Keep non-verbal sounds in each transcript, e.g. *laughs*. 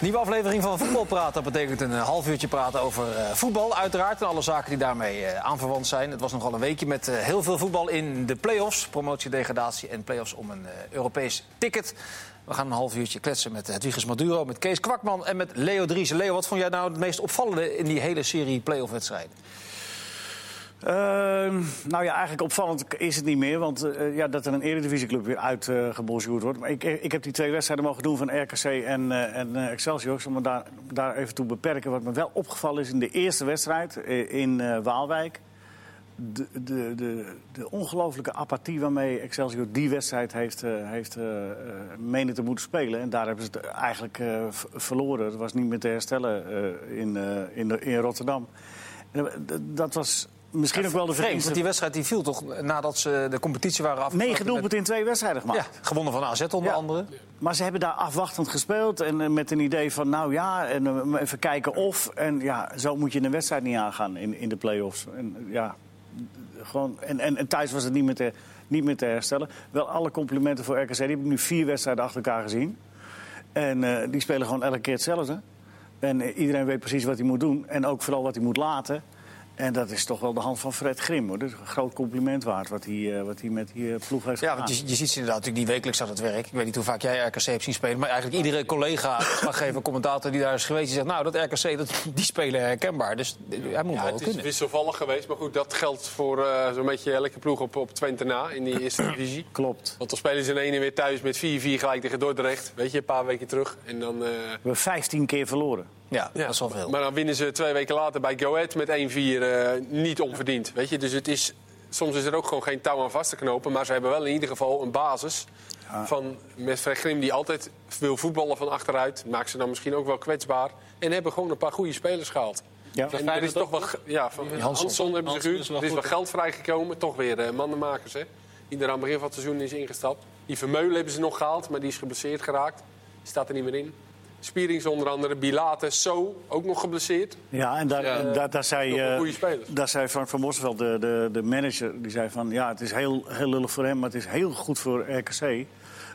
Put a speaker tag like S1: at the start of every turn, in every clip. S1: Nieuwe aflevering van Voetbal Praten. Dat betekent een eh, half uurtje praten over eh, voetbal, uiteraard. En alle zaken die daarmee eh, aanverwant zijn. Het was nogal een weekje met eh, heel veel voetbal in de play-offs. Promotie, degradatie en play-offs om een eh, Europees ticket. We gaan een half uurtje kletsen met Hedwiges Maduro, met Kees Kwakman en met Leo Driessen. Leo, wat vond jij nou het meest opvallende in die hele serie play-off wedstrijden?
S2: Ehm, nou ja, eigenlijk opvallend is het niet meer. Want eh, ja, dat er een eredivisieclub weer uit eh, gebonjourd wordt. Maar ik, eh, ik heb die twee wedstrijden mogen doen van RKC en, eh, en eh, Excelsior. Ik zal me daar, daar even toe beperken. Wat me wel opgevallen is in de eerste wedstrijd eh, in eh, Waalwijk. De, de, de, de ongelooflijke apathie waarmee Excelsior die wedstrijd heeft, eh, heeft eh, eh, menen te moeten spelen. En daar hebben ze het eigenlijk eh, v- verloren. Het was niet meer te herstellen eh, in, eh, in, de- in Rotterdam. En, eh, d- Dat was misschien ook wel de
S1: Vreemd, want
S2: verdienste
S1: die wedstrijd die viel toch nadat ze de competitie waren afgelopen.
S2: Negen doelpunten in twee wedstrijden gemaakt.
S1: Ja, gewonnen van AZ onder
S2: Ja.
S1: andere.
S2: Maar ze hebben daar afwachtend gespeeld. En eh, met een idee van, nou ja, en, eh, even kijken of. En ja, zo moet je een wedstrijd niet aangaan in, in de play-offs. En, eh, ja, gewoon, en, en, en thuis was het niet meer, te, niet meer te herstellen. Wel alle complimenten voor RKC. Die heb ik nu vier wedstrijden achter elkaar gezien. En eh, die spelen gewoon elke keer hetzelfde. En eh, iedereen weet precies wat hij moet doen. En ook vooral wat hij moet laten. En dat is toch wel de hand van Fred Grim. Hoor. Dus een groot compliment waard wat hij, eh, wat hij met die eh, ploeg heeft
S1: Ja,
S3: Ah.
S2: gedaan.
S1: want je, je ziet ze inderdaad natuurlijk niet wekelijks aan het werk. Ik weet niet hoe vaak jij RKC hebt zien spelen. Maar eigenlijk iedere
S3: *laughs*
S1: collega, verslaggever, commentator die daar is geweest... die zegt, nou, dat RKC, dat, die spelen herkenbaar. Dus eh, hij moet
S4: Ja,
S1: wel
S4: Ah, het is
S1: kunnen.
S4: wisselvallig geweest, maar goed, dat geldt voor eh, zo'n beetje elke ploeg op, op Twente na in die eerste divisie.
S2: Klopt.
S4: Want dan spelen ze in één en weer thuis met 4-4 gelijk tegen Dordrecht. Weet je, een paar weken terug. En dan, eh,
S2: We hebben 15 keer verloren.
S1: Ja, dat is wel veel.
S4: maar dan winnen ze twee weken later bij Go Ahead met 1-4 eh, niet onverdiend. Weet je, dus het is, soms is er ook gewoon geen touw aan vast te knopen. Maar ze hebben wel in ieder geval een basis van met Fred Grim die altijd wil voetballen van achteruit. Maakt ze dan misschien ook wel kwetsbaar. En hebben gewoon een paar goede spelers gehaald.
S2: Ja.
S4: En er is toch wel, ge- ja, van
S1: Hansson.
S4: Hansson hebben ze
S3: Hansson
S4: gehuurd.
S3: is wel
S4: Er is wel
S3: goed,
S4: geld vrijgekomen. Toch weer eh, mannenmakers, hè? Die er aan het begin van het seizoen is ingestapt. Die Vermeulen hebben ze nog gehaald, maar die is geblesseerd geraakt. Die staat er niet meer in. Spierings onder andere, Bilate, So, ook nog geblesseerd.
S2: Ja, en daar,
S4: Ja,
S2: en daar, daar, zei,
S4: heel veel
S2: eh,
S4: goede spelers.
S2: daar zei Frank van Mosveld, de, de, de manager, die zei van... ja, het is heel, heel lullig voor hem, maar het is heel goed voor RKC.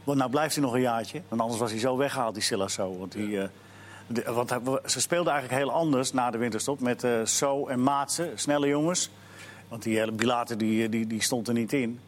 S2: Want nou blijft hij nog een jaartje. Want anders was hij zo weggehaald, die Silla zo. Want, die, eh, de- want hij- ze speelden eigenlijk heel anders na de winterstop. Met eh So en Maatsen, snelle jongens. Want die hele Bilater, die, eh, die, die stond er niet in.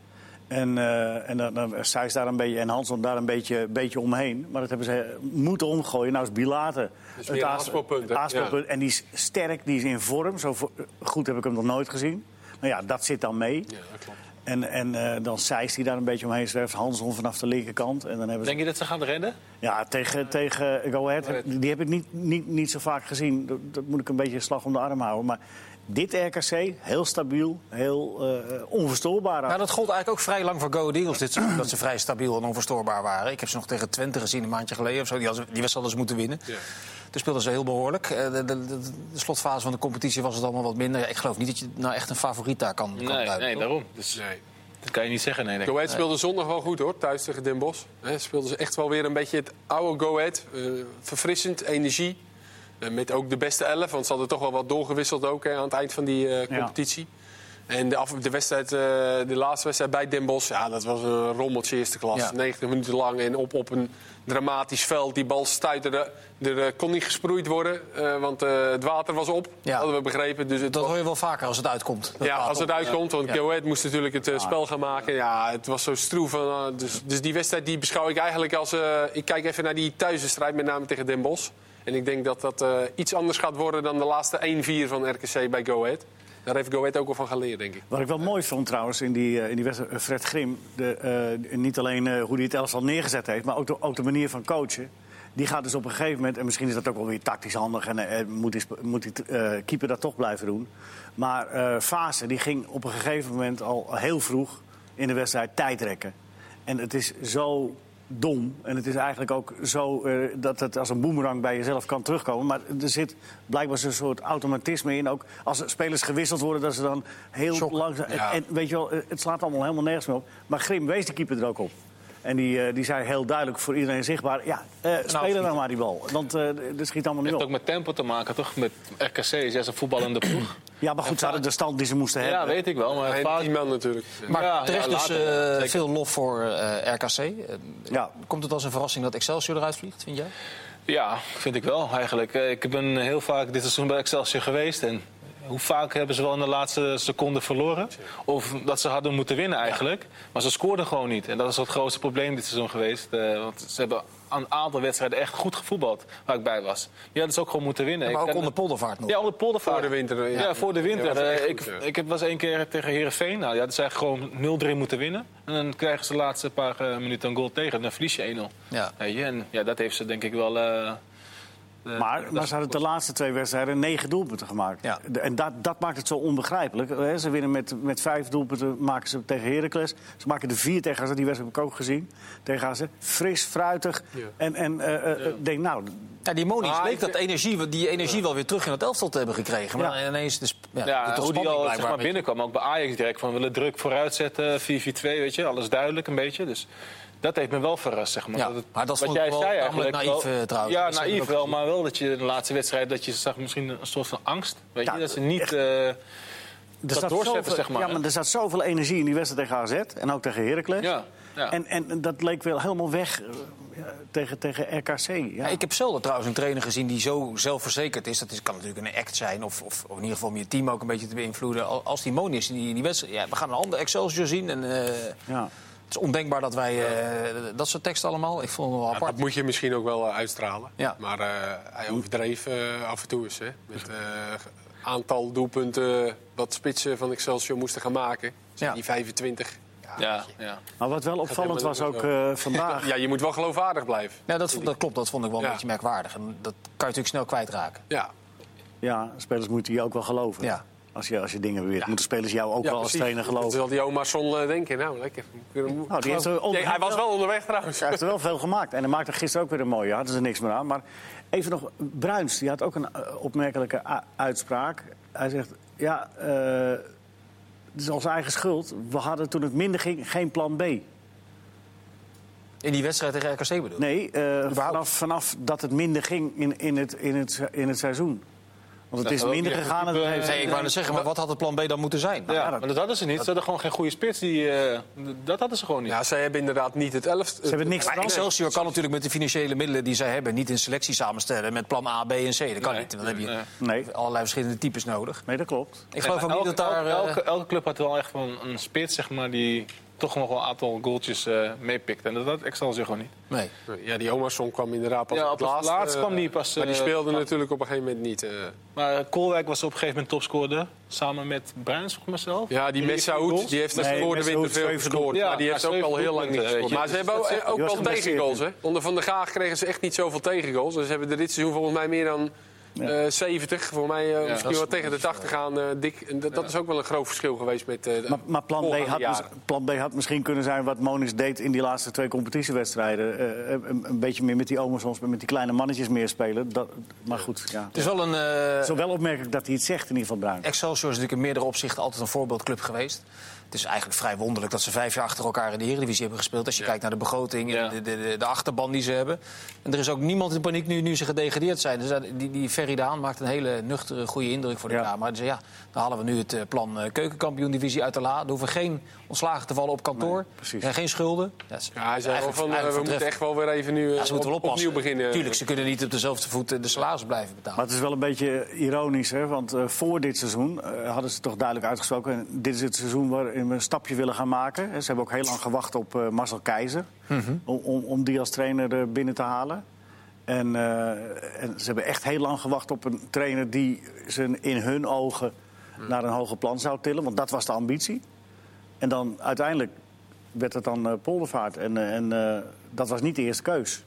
S2: En, eh en dan, dan Sijs daar een beetje en Hanson daar een beetje, beetje omheen. Maar dat hebben ze moeten omgooien. Nou is Bilater
S4: is meer een
S2: aans-
S4: aanspoelpunt, hè?
S2: het aanspoelpunt. En die is sterk, die is in vorm. Zo vo- goed heb ik hem nog nooit gezien. Nou ja, dat zit dan mee.
S4: Ja, dat klopt.
S2: En, en eh, dan Sijs die daar een beetje omheen zwerft. Hanson vanaf de linkerkant. En dan hebben ze,
S3: Denk je dat ze gaan rennen?
S2: ja, tegen, tegen Go Ahead, heb- die heb ik niet, niet, niet zo vaak gezien. Dat, dat moet ik een beetje een slag om de arm houden. Maar dit RKC, heel stabiel, heel eh, onverstoorbaar.
S1: Nou, dat gold eigenlijk ook vrij lang voor Go Ahead Eagles. Dit seizoen, dat ze vrij stabiel en onverstoorbaar waren. Ik heb ze nog tegen Twente gezien een maandje geleden of zo. Die, hadden, die wedstrijd hadden ze moeten winnen.
S4: Ja.
S1: Toen speelden ze heel behoorlijk. Eh, De, de, de- de slotfase van de competitie was het allemaal wat minder. Ja, Ik geloof niet dat je nou echt een favoriet daar kan, kan
S3: Nee,
S1: duiden,
S3: nee,
S1: toch?
S3: daarom. Dus
S4: Nee.
S3: dat kan je niet zeggen, nee. denk ik.
S4: Go Ahead speelde zondag wel goed, hoor. Thuis tegen Den Bosch. Hè, speelden ze echt wel weer een beetje het oude Go Ahead. Eh, verfrissend, energie. Eh, met ook de beste elf, want ze hadden toch wel wat doorgewisseld ook hè, aan het eind van die eh, competitie. En de, af, de, wedstrijd, eh, de laatste wedstrijd bij Den Bosch, ja, dat was een rommeltje eerste klas.
S1: Ja.
S4: 90 minuten lang en op, op een dramatisch veld. Die bal stuiterde, er eh, kon niet gesproeid worden, eh, want eh, het water was op,
S1: Ja.
S4: hadden we begrepen. Dus het
S1: Dat
S4: was-
S1: hoor je wel vaker als het uitkomt. Dat
S4: ja,
S1: laat
S4: als het
S1: op.
S4: uitkomt, want
S1: Ja.
S4: Go Ahead moest natuurlijk het eh, spel gaan maken. Ja, het was zo stroef. en, eh, dus, dus die wedstrijd die beschouw ik eigenlijk als... eh, ik kijk even naar die thuiswedstrijd, met name tegen Den Bosch. En ik denk dat dat eh, iets anders gaat worden dan de laatste 1-4 van RKC bij Go Ahead. Daar heeft Go Ahead ook wel van geleerd, denk ik.
S2: Wat ik wel mooi vond trouwens in die, eh, in die wedstrijd, eh, Fred Grim. De, eh, niet alleen eh, hoe hij het elftal neergezet heeft, maar ook de, ook de manier van coachen. Die gaat dus op een gegeven moment, en misschien is dat ook wel weer tactisch handig... en eh, moet die, sp- moet die eh, keeper dat toch blijven doen. Maar eh Fase die ging op een gegeven moment al heel vroeg in de wedstrijd tijdrekken. En het is zo dom. En het is eigenlijk ook zo eh, dat het als een boemerang bij jezelf kan terugkomen. Maar er zit blijkbaar zo'n soort automatisme in. Ook als er spelers gewisseld worden, dat ze dan heel langzaam... En, en weet je wel, eh, het slaat allemaal helemaal nergens meer op. Maar Grim wees de keeper er ook op. En die, eh, die zei heel duidelijk voor iedereen zichtbaar... ja, eh spelen nou maar die bal. Want eh dit schiet allemaal niet
S3: Het
S2: op.
S3: heeft ook met tempo te maken, toch? Met RKC is juist een voetballende ploeg.
S2: Ja, maar goed, ze hadden de stand die ze moesten hebben.
S3: ja, weet ik wel.
S1: Eh,
S3: Maar
S4: En
S3: vaak-
S4: die man natuurlijk.
S1: Maar
S3: Ja,
S1: terecht
S3: ja,
S1: dus
S3: later,
S1: eh,
S3: zeker.
S1: veel lof voor eh, RKC. Eh,
S2: Ja.
S1: Komt het als een verrassing dat Excelsior eruit vliegt, vind jij?
S3: Ja, vind ik wel eigenlijk. Eh, Ik ben heel vaak dit seizoen bij Excelsior geweest. En hoe vaak hebben ze wel in de laatste seconde verloren? Of dat ze hadden moeten winnen eigenlijk. Maar ze scoorden gewoon niet. En dat is het grootste probleem dit seizoen geweest. Eh, want ze hebben een aantal wedstrijden echt goed gevoetbald waar ik bij was. Die hadden ze ook gewoon moeten winnen.
S1: Maar
S3: Ik
S1: ook
S3: ken-
S1: onder poldervaart nog.
S3: Ja, onder poldervaart.
S4: Voor de winter, eh,
S3: Ja,
S4: ja.
S3: voor de winter.
S4: Ja, dat is echt
S3: Eh, ik,
S4: goed, ja.
S3: ik heb was één keer tegen Herenveen. Nou, ja, dat zij gewoon 0-3 moeten winnen. En dan krijgen ze de laatste paar eh, minuten een goal tegen. Dan verlies je 1-0.
S1: Ja.
S3: Weet je, en ja, dat heeft ze denk ik wel. eh, eh,
S2: Maar,
S3: dat
S2: maar
S3: is-
S2: ze hadden de laatste twee wedstrijden negen doelpunten gemaakt.
S1: Ja.
S2: De- En dat, dat maakt het zo onbegrijpelijk. hè. Ze winnen met, met vijf doelpunten maken ze tegen Heracles. Ze maken er vier tegen AZ, die wedstrijd heb ik ook gezien. Tegen AZ. Fris, fruitig.
S4: Ja.
S2: En, en eh, eh, eh, denk, nou,
S1: Ja, die Monies
S4: Ah,
S1: leek
S4: ik-
S1: dat energie, die energie wel weer terug in het elftal te hebben gekregen. Maar dan ineens de sp- ja,
S3: Ja,
S1: de
S3: hoe die
S1: ontspanning
S3: al zeg
S1: blijkbaar
S3: maar,
S1: met-
S3: binnenkwam. Ook bij Ajax direct van willen druk vooruit zetten. 4-4-2, weet je. Alles duidelijk een beetje. Dus dat heeft me wel verrast, zeg maar.
S1: Ja,
S3: dat het-
S1: maar dat
S3: wat
S1: vond ik
S3: jij
S1: wel
S3: zei
S1: tamelijk
S3: eigenlijk
S1: naïef,
S3: wel-
S1: eh, trouwens.
S3: Ja,
S1: Dat zei ik
S3: naïef
S1: ook
S3: wel.
S1: gezien.
S3: Maar wel dat je in de laatste wedstrijd... dat je zag misschien een soort van angst. Weet
S2: Ja,
S3: je, dat ze niet...
S2: echt.
S3: eh,
S2: Er
S3: dat
S2: zat
S3: doorzetten,
S2: zoveel-
S3: zeg maar.
S2: Ja, maar er zat zoveel energie in die wedstrijd tegen AZ en ook tegen Heracles.
S3: Ja, ja.
S2: En, en dat leek wel helemaal weg eh, ja, tegen, tegen RKC. Ja.
S1: Ja, ik heb zelden trouwens een trainer gezien die zo zelfverzekerd is. Dat is, kan natuurlijk een act zijn, of, of, of in ieder geval om je team ook een beetje te beïnvloeden. Al- Als die Monies, die, die wedstrijd, ja, we gaan een ander Excelsior zien. En, eh,
S2: Ja.
S1: Het is ondenkbaar dat wij eh, dat soort teksten allemaal. Ik vond het wel
S4: Ja,
S1: apart.
S4: dat moet je misschien ook wel eh, uitstralen.
S1: Ja.
S4: Maar eh, hij overdreef eh, af en toe eens. Hè? Met eh, aantal doelpunten wat spitsen van Excelsior moesten gaan maken. Dus
S1: Ja.
S4: Die 25.
S3: ja, ja.
S2: Maar wat wel opvallend was
S4: helemaal
S2: ook
S4: niet
S2: eh, vandaag.
S4: Ja, je moet wel geloofwaardig blijven.
S1: Ja, dat, vond- dat klopt, dat vond ik wel een
S4: Ja.
S1: beetje merkwaardig. En dat kan je natuurlijk snel kwijtraken.
S4: Ja,
S2: Ja, spelers moeten je ook wel geloven.
S1: Ja.
S2: Als, je, als je dingen beweert, moeten spelers jou ook wel als trainer
S4: Dat
S2: geloven.
S4: zal die oma Son eh, denken. Nou, lekker.
S2: Nou, die heeft er
S4: Ja,
S2: onder-
S4: hij was wel onderweg trouwens.
S2: Hij heeft er wel veel gemaakt. En hij maakte gisteren ook weer een mooie. Hadden ze niks meer aan. Maar even nog, Bruins, die had ook een eh, opmerkelijke a- uitspraak. Hij zegt, ja, eh, het is onze eigen schuld. We hadden toen het minder ging geen plan B.
S1: In die wedstrijd tegen RKC bedoel ik.
S2: Nee, eh, vanaf, vanaf dat het minder ging in, in, het, in, het, in het seizoen. Want het is
S3: zou ook
S2: minder
S3: niet echt
S2: gegaan. en
S3: een
S2: het
S3: type,
S2: heeft-
S1: Nee, ik wou net zeggen, maar wat had het plan B dan moeten zijn?
S3: Ja,
S2: ja, dat-
S3: maar dat hadden ze niet. Ze hadden gewoon geen goede spits. Die, eh, d- dat hadden ze gewoon niet.
S4: Ja, zij hebben inderdaad niet het elftal. Ze
S2: hebben niks
S1: Maar Excelsior kan natuurlijk met de financiële middelen die zij hebben... niet een selectie samenstellen met plan A, B en C. Dat kan
S3: Nee,
S1: niet. Dan heb je
S3: nee.
S2: Nee.
S1: allerlei verschillende types nodig.
S2: Nee, dat klopt.
S1: Ik geloof
S3: Nee, maar
S1: ook niet dat
S3: elke-
S1: daar...
S3: elke,
S1: eh,
S3: elke, elke club had wel echt wel een, een spits, zeg maar, die toch nog wel een aantal goaltjes eh meepikt. En dat had Excelsior gewoon niet.
S1: nee.
S4: Ja, die Omarsson kwam inderdaad pas
S3: Ja,
S4: op
S3: op het laatst
S4: eh,
S3: kwam die pas,
S4: Maar die
S3: eh,
S4: speelde natuurlijk op een gegeven moment niet. eh.
S3: Maar eh, Koolwijk was op een gegeven moment topscorer. Samen met Bruins, volgens mezelf.
S4: Ja, die Messaoud, die heeft
S2: Nee,
S4: voor de winter
S2: Messaoud
S4: veel
S2: heeft
S4: gescoord.
S3: doelpunten.
S4: maar die
S3: Ja,
S4: heeft ook
S3: zeven eh,
S4: al heel lang niet
S3: doelpunten,
S4: gescoord.
S3: weet je.
S4: Maar ze hebben ook, ook
S2: Die was
S4: wel
S2: geblesseerd.
S4: tegengoals. Hè? Onder Van der Gaag kregen ze echt niet zoveel tegengoals. Dus ze hebben er dit seizoen volgens mij meer dan eh 70. Voor mij eh,
S3: dat
S4: misschien
S3: is
S4: wel tegen de 80 aan eh, dik. En dat, dat is ook wel een groot verschil geweest met eh, de
S2: Maar, maar plan, B
S4: voorgaande
S2: had, dus mis-
S4: jaren.
S2: plan B had misschien kunnen zijn wat Monis deed in die laatste twee competitiewedstrijden. Eh, een, een beetje meer met die omers, met die kleine mannetjes meer spelen. Dat, maar goed, ja.
S1: Het is wel een... eh,
S2: Het is wel opmerkelijk dat hij het zegt in ieder geval, Bruin.
S1: Excelsior is natuurlijk in meerdere opzichten altijd een voorbeeldclub geweest. Het is eigenlijk vrij wonderlijk dat ze vijf jaar achter elkaar in de Eredivisie hebben gespeeld. Als je kijkt naar de begroting en
S3: Ja.
S1: de, de, de, de achterban die ze hebben. En er is ook niemand in paniek nu, nu ze gedegradeerd zijn. Dus daar- die, die Ferry de Haan maakt een hele nuchtere, goede indruk voor de
S2: Ja.
S1: Kamer. Dus ja, dan halen we nu het eh, plan eh, keukenkampioen-divisie uit de la. Er hoeven geen ontslagen te vallen op kantoor.
S2: precies.
S1: en geen schulden. Ja, ze-
S4: Ja, hij zei wel
S1: eigenlijk-
S4: van, eh,
S1: eigenlijk
S4: we moeten
S1: voortreffelijk.
S4: echt wel weer even nu eh,
S1: Ja, ze moeten wel
S4: op- opnieuw
S1: oppassen.
S4: beginnen.
S1: Tuurlijk, ze kunnen niet op dezelfde voet eh, de salaris blijven betalen.
S2: Maar het is wel een beetje ironisch, hè? want eh, voor dit seizoen eh, hadden ze toch duidelijk uitgesproken... en dit is het seizoen waarin we een stapje willen gaan maken. Hè, Ze hebben ook heel lang gewacht op eh, Marcel Keizer om, om, om die als trainer eh, binnen te halen. En, eh, en ze hebben echt heel lang gewacht op een trainer die ze in hun ogen naar een hoger plan zou tillen. Want dat was de ambitie. En dan uiteindelijk werd het dan eh, Poldervaart. En, eh, en eh, dat was niet de eerste keus.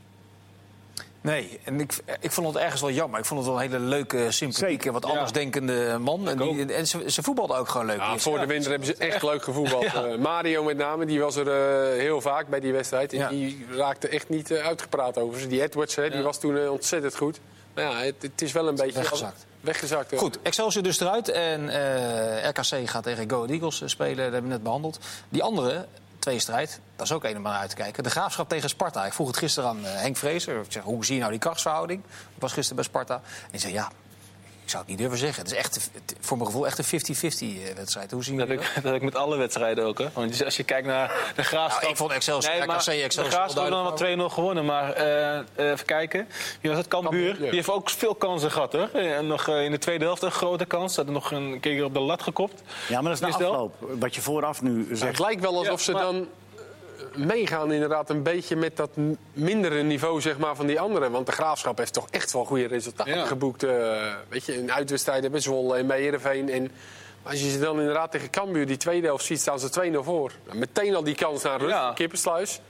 S1: Nee, en ik, ik vond het ergens wel jammer. Ik vond het wel een hele leuke, sympathieke,
S2: Zeker,
S1: wat andersdenkende man. En, die, en ze, ze voetbalde ook gewoon leuk.
S4: Ja,
S1: Dus-
S4: voor de winter hebben ze echt leuk
S1: *laughs*
S4: gevoetbald. Eh, Mario met name, die was er eh, heel vaak bij die wedstrijd. En
S1: Ja.
S4: die raakte echt niet eh, uitgepraat over ze. Die Edwards, hè, die was toen eh, ontzettend goed. Maar ja, het, het is wel een beetje...
S1: weggezakt.
S4: Weggezakt. eh.
S1: Goed, Excelsior dus eruit. En eh, RKC gaat tegen Go Ahead Eagles eh, spelen. Dat hebben we net behandeld. Die andere tweestrijd, dat is ook een om naar uit te kijken. De Graafschap tegen Sparta. Ik vroeg het gisteren aan eh, Henk Vrezer. Ik zeg, hoe zie je nou die krachtsverhouding? Ik was gisteren bij Sparta. En hij zei, ja, Ik zou het niet durven zeggen. Het is echt, het- voor mijn gevoel echt een 50-50 eh, wedstrijd. Hoe zien
S3: Dat
S1: jullie
S3: heb,
S1: dat?
S3: ik, dat heb ik met alle wedstrijden ook. Hè? Want als je kijkt naar de Graafschap...
S1: Nou, ik vond Excelsior- RKC
S3: maar
S1: Excelsior
S3: de Graafschap
S1: wel
S3: heeft dan
S1: duidelijk
S3: wel 2-0 gewonnen. Maar eh, eh, even kijken. Wie was het? Cambuur.
S4: Cambuur, ja.
S3: Die heeft ook veel kansen gehad. Hoor. En nog eh, in de tweede helft een grote kans. Ze hadden nog een keer op de lat gekopt.
S2: Ja, maar dat is
S3: Is
S2: na
S3: wel-
S2: afloop. Wat je vooraf nu
S4: Het
S2: zegt.
S4: lijkt wel alsof
S3: Ja,
S4: ze
S3: maar-
S4: dan eh, meegaan inderdaad een beetje met dat m- mindere niveau zeg maar, van die anderen. Want de Graafschap heeft toch echt wel goede resultaten
S3: Ja.
S4: geboekt. eh, weet je, in uitwedstrijden bij Zwolle en bij Heerenveen. En als je ze dan inderdaad tegen Cambuur die tweede helft ziet, staan ze 2-0 voor. Nou, meteen al die kans naar rust,
S3: Ja.
S4: Kippensluis.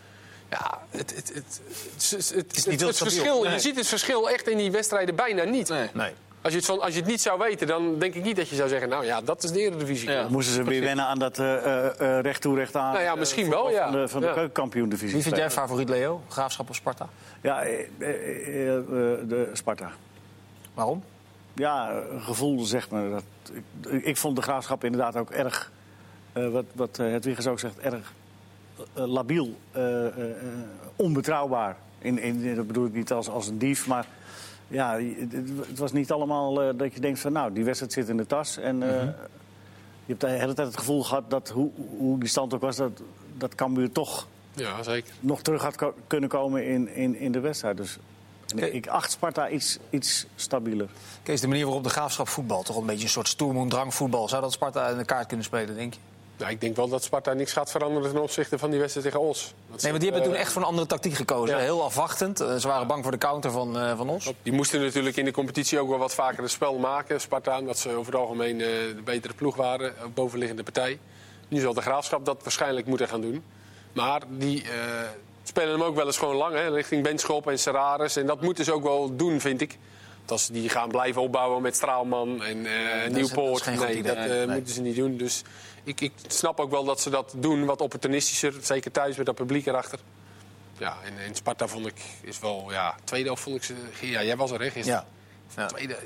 S4: Ja, het, het, het, het, het, het,
S1: niet heel
S4: het
S1: stabiel.
S4: verschil,
S3: Nee.
S4: je ziet het verschil echt in die wedstrijden bijna niet.
S3: Nee.
S1: Nee.
S4: Als, je het van, als je het niet zou weten, dan denk ik niet dat je zou zeggen... nou ja, dat is de Eredivisie.
S3: Ja.
S4: Ja.
S2: Dan moesten ze weer wennen aan dat eh eh, eh, recht toe, recht aan.
S4: Nou ja, misschien wel, ja.
S2: Van de, van de
S4: Ja.
S2: keukenkampioen-divisie.
S1: Wie vind jij favoriet, Leo? Graafschap of Sparta?
S2: Ja, eh, eh, eh, eh, de Sparta.
S1: Waarom?
S2: Ja, een gevoel zeg maar. Dat, ik, ik vond de graafschap inderdaad ook erg, eh, wat, wat eh, Hedwiges ook zegt, erg eh, labiel, eh, eh, eh, onbetrouwbaar. In, in, dat bedoel ik niet als, als een dief, maar ja, het, het was niet allemaal eh, dat je denkt van nou, die wedstrijd zit in de tas. En eh, je hebt de hele tijd het gevoel gehad dat hoe, hoe die stand ook was, dat, dat Cambuur toch
S4: ja, zeker.
S2: nog terug had ko- kunnen komen in, in, in de wedstrijd. Dus en
S1: Oké.
S2: ik acht Sparta iets, iets stabieler.
S1: Kees, de manier waarop de Graafschap voetbal, toch een beetje een soort stoermoendrang voetbal. Zou dat Sparta in de kaart kunnen spelen, denk je?
S4: Nou, ik denk wel dat Sparta niks gaat veranderen ten opzichte van die wedstrijd tegen Os. Dat
S1: Nee,
S4: ze-
S1: want die hebben
S4: eh,
S1: toen echt voor een andere tactiek gekozen.
S4: ja.
S1: Heel afwachtend. Eh, Ze waren bang voor de counter van, eh, van ons.
S4: Die moesten natuurlijk in de competitie ook wel wat vaker het spel maken. Sparta, omdat ze over het algemeen eh, de betere ploeg waren, eh, bovenliggende partij. Nu zal de Graafschap dat waarschijnlijk moeten gaan doen. Maar die eh, spelen hem ook wel eens gewoon lang, hè, richting Benschop en Serraris. En dat moeten ze ook wel doen, vind ik. Want Als ze die gaan blijven opbouwen met Straalman en eh,
S1: dat is
S4: Nieuwpoort.
S1: geen goed
S4: nee,
S1: idee.
S4: dat eh,
S1: Nee.
S4: moeten ze niet doen. Dus ik, ik snap ook wel dat ze dat doen wat opportunistischer. Zeker thuis met dat publiek erachter. Ja, en, en Sparta vond ik is wel, ja, tweede helft vond ik ze. Ja, jij was er, hè, gisteren?
S1: Ja. ja.
S4: Tweede.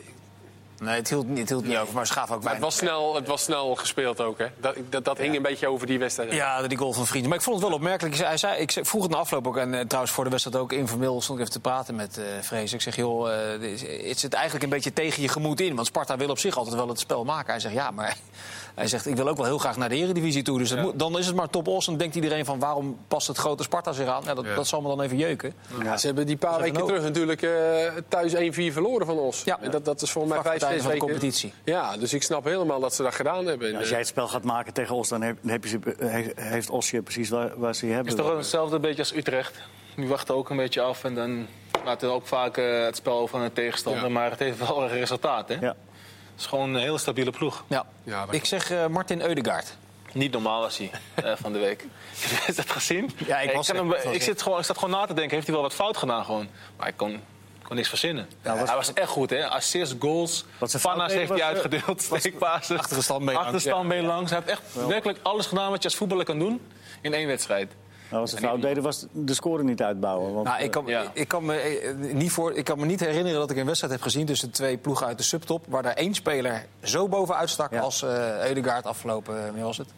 S1: Nee, het hield, niet- het hield niet over, maar ze gaven ook
S4: Maar het
S1: weinig.
S4: was, snel, het was snel gespeeld ook, hè? Dat, dat, dat hing een beetje over die wedstrijd.
S1: Ja, die goal van Vrienden. Maar ik vond het wel opmerkelijk. Hij zei, ik zei- vroeg het na afloop ook, en eh, trouwens voor de wedstrijd ook informeel stond ik even te praten met eh Vrees. Ik zeg, joh, eh, dit is- het zit eigenlijk een beetje tegen je gemoed in. Want Sparta wil op zich altijd wel het spel maken. Hij zegt, ja, maar *laughs* hij zegt, ik wil ook wel heel graag naar de eredivisie toe. Dus dat moet- dan is het maar top os. En denkt iedereen van, waarom past het grote Sparta zich aan? Ja, dat, dat zal me dan even jeuken.
S4: Ja, ze hebben die paar weken
S1: ook.
S4: terug natuurlijk eh, thuis 1-4 verloren van ons.
S1: Ja.
S4: En dat, dat is voor mij vijf,
S1: Vakpartijen van
S4: zes
S1: de
S4: weken.
S1: competitie.
S4: Ja, dus ik snap helemaal dat ze dat gedaan hebben. En,
S2: Als
S4: eh,
S2: jij het spel gaat maken tegen Os, dan heb, dan heb je ze, eh, he- heeft Os je precies waar, waar ze je
S3: Het
S2: hebben.
S3: is toch hetzelfde beetje als Utrecht. Die wachten ook een beetje af en dan laten ook vaak eh, het spel van een tegenstander.
S4: Ja.
S3: Maar het heeft wel een resultaat. Hè?
S2: Ja.
S3: Het is gewoon een hele stabiele ploeg.
S1: Ja,
S4: Ja, dat
S1: ik zeg eh, Martin Eudegaard.
S3: Niet normaal was hij *laughs* eh, van de week. Heb je dat gezien?
S1: Ja, ik was
S3: kan
S1: er.
S3: hem-
S1: Ik was
S3: ik,
S1: er.
S3: zit gewoon, ik zat gewoon na te denken, heeft hij wel wat fout gedaan gewoon? Maar ik kon, kon niks verzinnen. Hij was echt goed, hè? Assist, goals,
S2: Wat zijn
S3: panna's
S2: fout
S3: heeft hij
S2: was, eh,
S3: uitgedeeld, steekpasen.
S1: Achterste standbeen langs,
S3: Achterstandbeen langs. Hij heeft echt werkelijk alles gedaan wat je als voetballer kan doen in één wedstrijd.
S2: Nou, wat ze fout deden was de score niet uitbouwen. Want,
S1: Nou, ik, kan,
S3: Ja.
S1: ik, kan me, eh, niet voor, ik kan me niet herinneren dat ik een wedstrijd heb gezien tussen twee ploegen uit de subtop. waar daar één speler zo bovenuit stak
S2: Ja.
S1: als eh Eudegaard afgelopen. wanneer was het?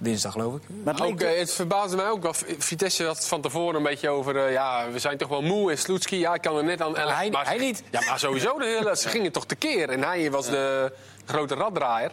S1: Dinsdag, geloof ik.
S2: eh, maar het
S4: Ook,
S2: leek-
S4: eh, het verbaasde mij ook wel. V- Vitesse had van tevoren een beetje over... eh, ja, we zijn toch wel moe en Sloetski. Ja, ik kan er net aan...
S1: Maar hij- hij niet.
S4: Ja, maar sowieso. De hele, ze gingen toch tekeer. En hij was de grote raddraaier.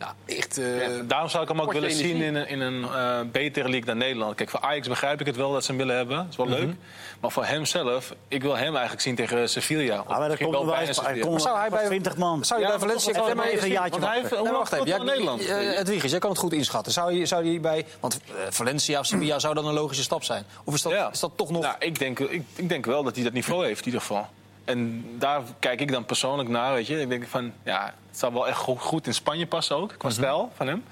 S4: Ja, echt... eh,
S3: Ja, daarom zou ik hem ook
S4: potje
S3: willen
S4: energie.
S3: zien in een, in een eh, betere league dan Nederland. Kijk, voor Ajax begrijp ik het wel dat ze hem willen hebben. Dat is wel
S4: Mhm.
S3: leuk. Maar voor hemzelf, ik wil hem eigenlijk zien tegen Sevilla.
S2: Ah, maar dat komt er wel eens bij. Komt
S1: zou
S2: er
S1: hij
S2: wel
S1: bij-
S2: 20 man.
S1: Zou je
S3: Ja,
S1: bij
S3: maar
S1: Valencia
S3: toch wel
S1: Clement
S3: een
S1: even-
S3: beetje-
S2: jaartje
S3: want hij heeft- Hoe
S1: Nee, maar
S3: lang
S1: wacht even.
S3: speelt hij
S1: Ja,
S3: voor Nederland?
S1: eh, Hedwiges, jij kan het goed inschatten. Zou je, zou je bij, want eh, Valencia of Sevilla zou dan een logische stap zijn? Of is dat,
S3: Ja.
S1: is dat toch nog...
S3: Nou, ik denk, ik, ik denk wel dat hij dat niveau heeft in ieder geval. En daar kijk ik dan persoonlijk naar, weet je. Ik denk van, ja, het zou wel echt go- goed in Spanje passen ook, qua
S1: Mhm.
S3: stijl van hem.